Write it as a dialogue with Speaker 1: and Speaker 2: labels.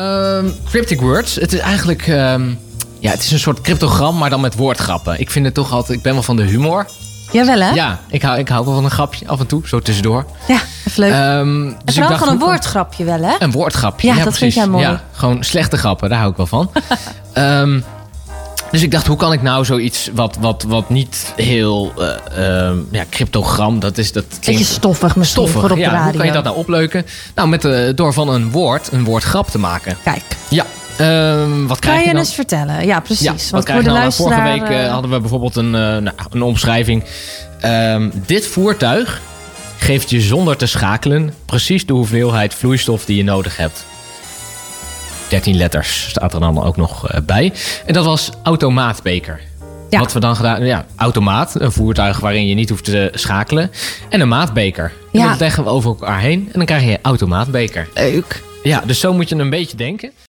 Speaker 1: Ehm, cryptic words. Het is eigenlijk... ehm, ja, het is een soort cryptogram, maar dan met woordgrappen. Ik vind het toch altijd... Ik ben wel van de humor.
Speaker 2: Jawel, hè?
Speaker 1: Ja, ik hou, ik hou wel van een grapje af en toe, zo tussendoor.
Speaker 2: Ja, even leuk.
Speaker 1: Ehm, dus
Speaker 2: en
Speaker 1: ik
Speaker 2: vooral
Speaker 1: dacht,
Speaker 2: gewoon een
Speaker 1: hoe-
Speaker 2: woordgrapje wel, hè?
Speaker 1: Een woordgrapje.
Speaker 2: Ja, dat vind
Speaker 1: precies.
Speaker 2: jij mooi.
Speaker 1: Ja, gewoon slechte grappen, daar hou ik wel van. Ehm, dus ik dacht, hoe kan ik nou zoiets wat, wat, wat niet heel eh, ehm, ja, cryptogram, dat is dat
Speaker 2: Beetje
Speaker 1: klinkt
Speaker 2: stoffig misschien
Speaker 1: stoffig.
Speaker 2: voor op de
Speaker 1: ja,
Speaker 2: radio.
Speaker 1: hoe kan je dat nou opleuken? Nou, met, eh, door van een woord een woordgrap te maken.
Speaker 2: Kijk,
Speaker 1: Ja, ehm, wat
Speaker 2: kan
Speaker 1: krijg
Speaker 2: je,
Speaker 1: je dan?
Speaker 2: eens vertellen? Ja, precies.
Speaker 1: Ja,
Speaker 2: Want
Speaker 1: wat krijg
Speaker 2: voor
Speaker 1: je nou?
Speaker 2: de
Speaker 1: Nou, Vorige
Speaker 2: luisteraar...
Speaker 1: week eh,
Speaker 2: eh,
Speaker 1: hadden we bijvoorbeeld een, eh, nou, een omschrijving. Ehm, dit voertuig geeft je zonder te schakelen precies de hoeveelheid vloeistof die je nodig hebt. 13 letters staat er dan ook nog eh, bij. En dat was automaatbeker.
Speaker 2: Ja.
Speaker 1: Wat we dan gedaan ja, automaat, een voertuig waarin je niet hoeft te schakelen. En een maatbeker. En
Speaker 2: Ja.
Speaker 1: dat leggen we over elkaar heen en dan krijg je automaatbeker.
Speaker 2: Leuk.
Speaker 1: Ja, dus zo moet je een beetje denken.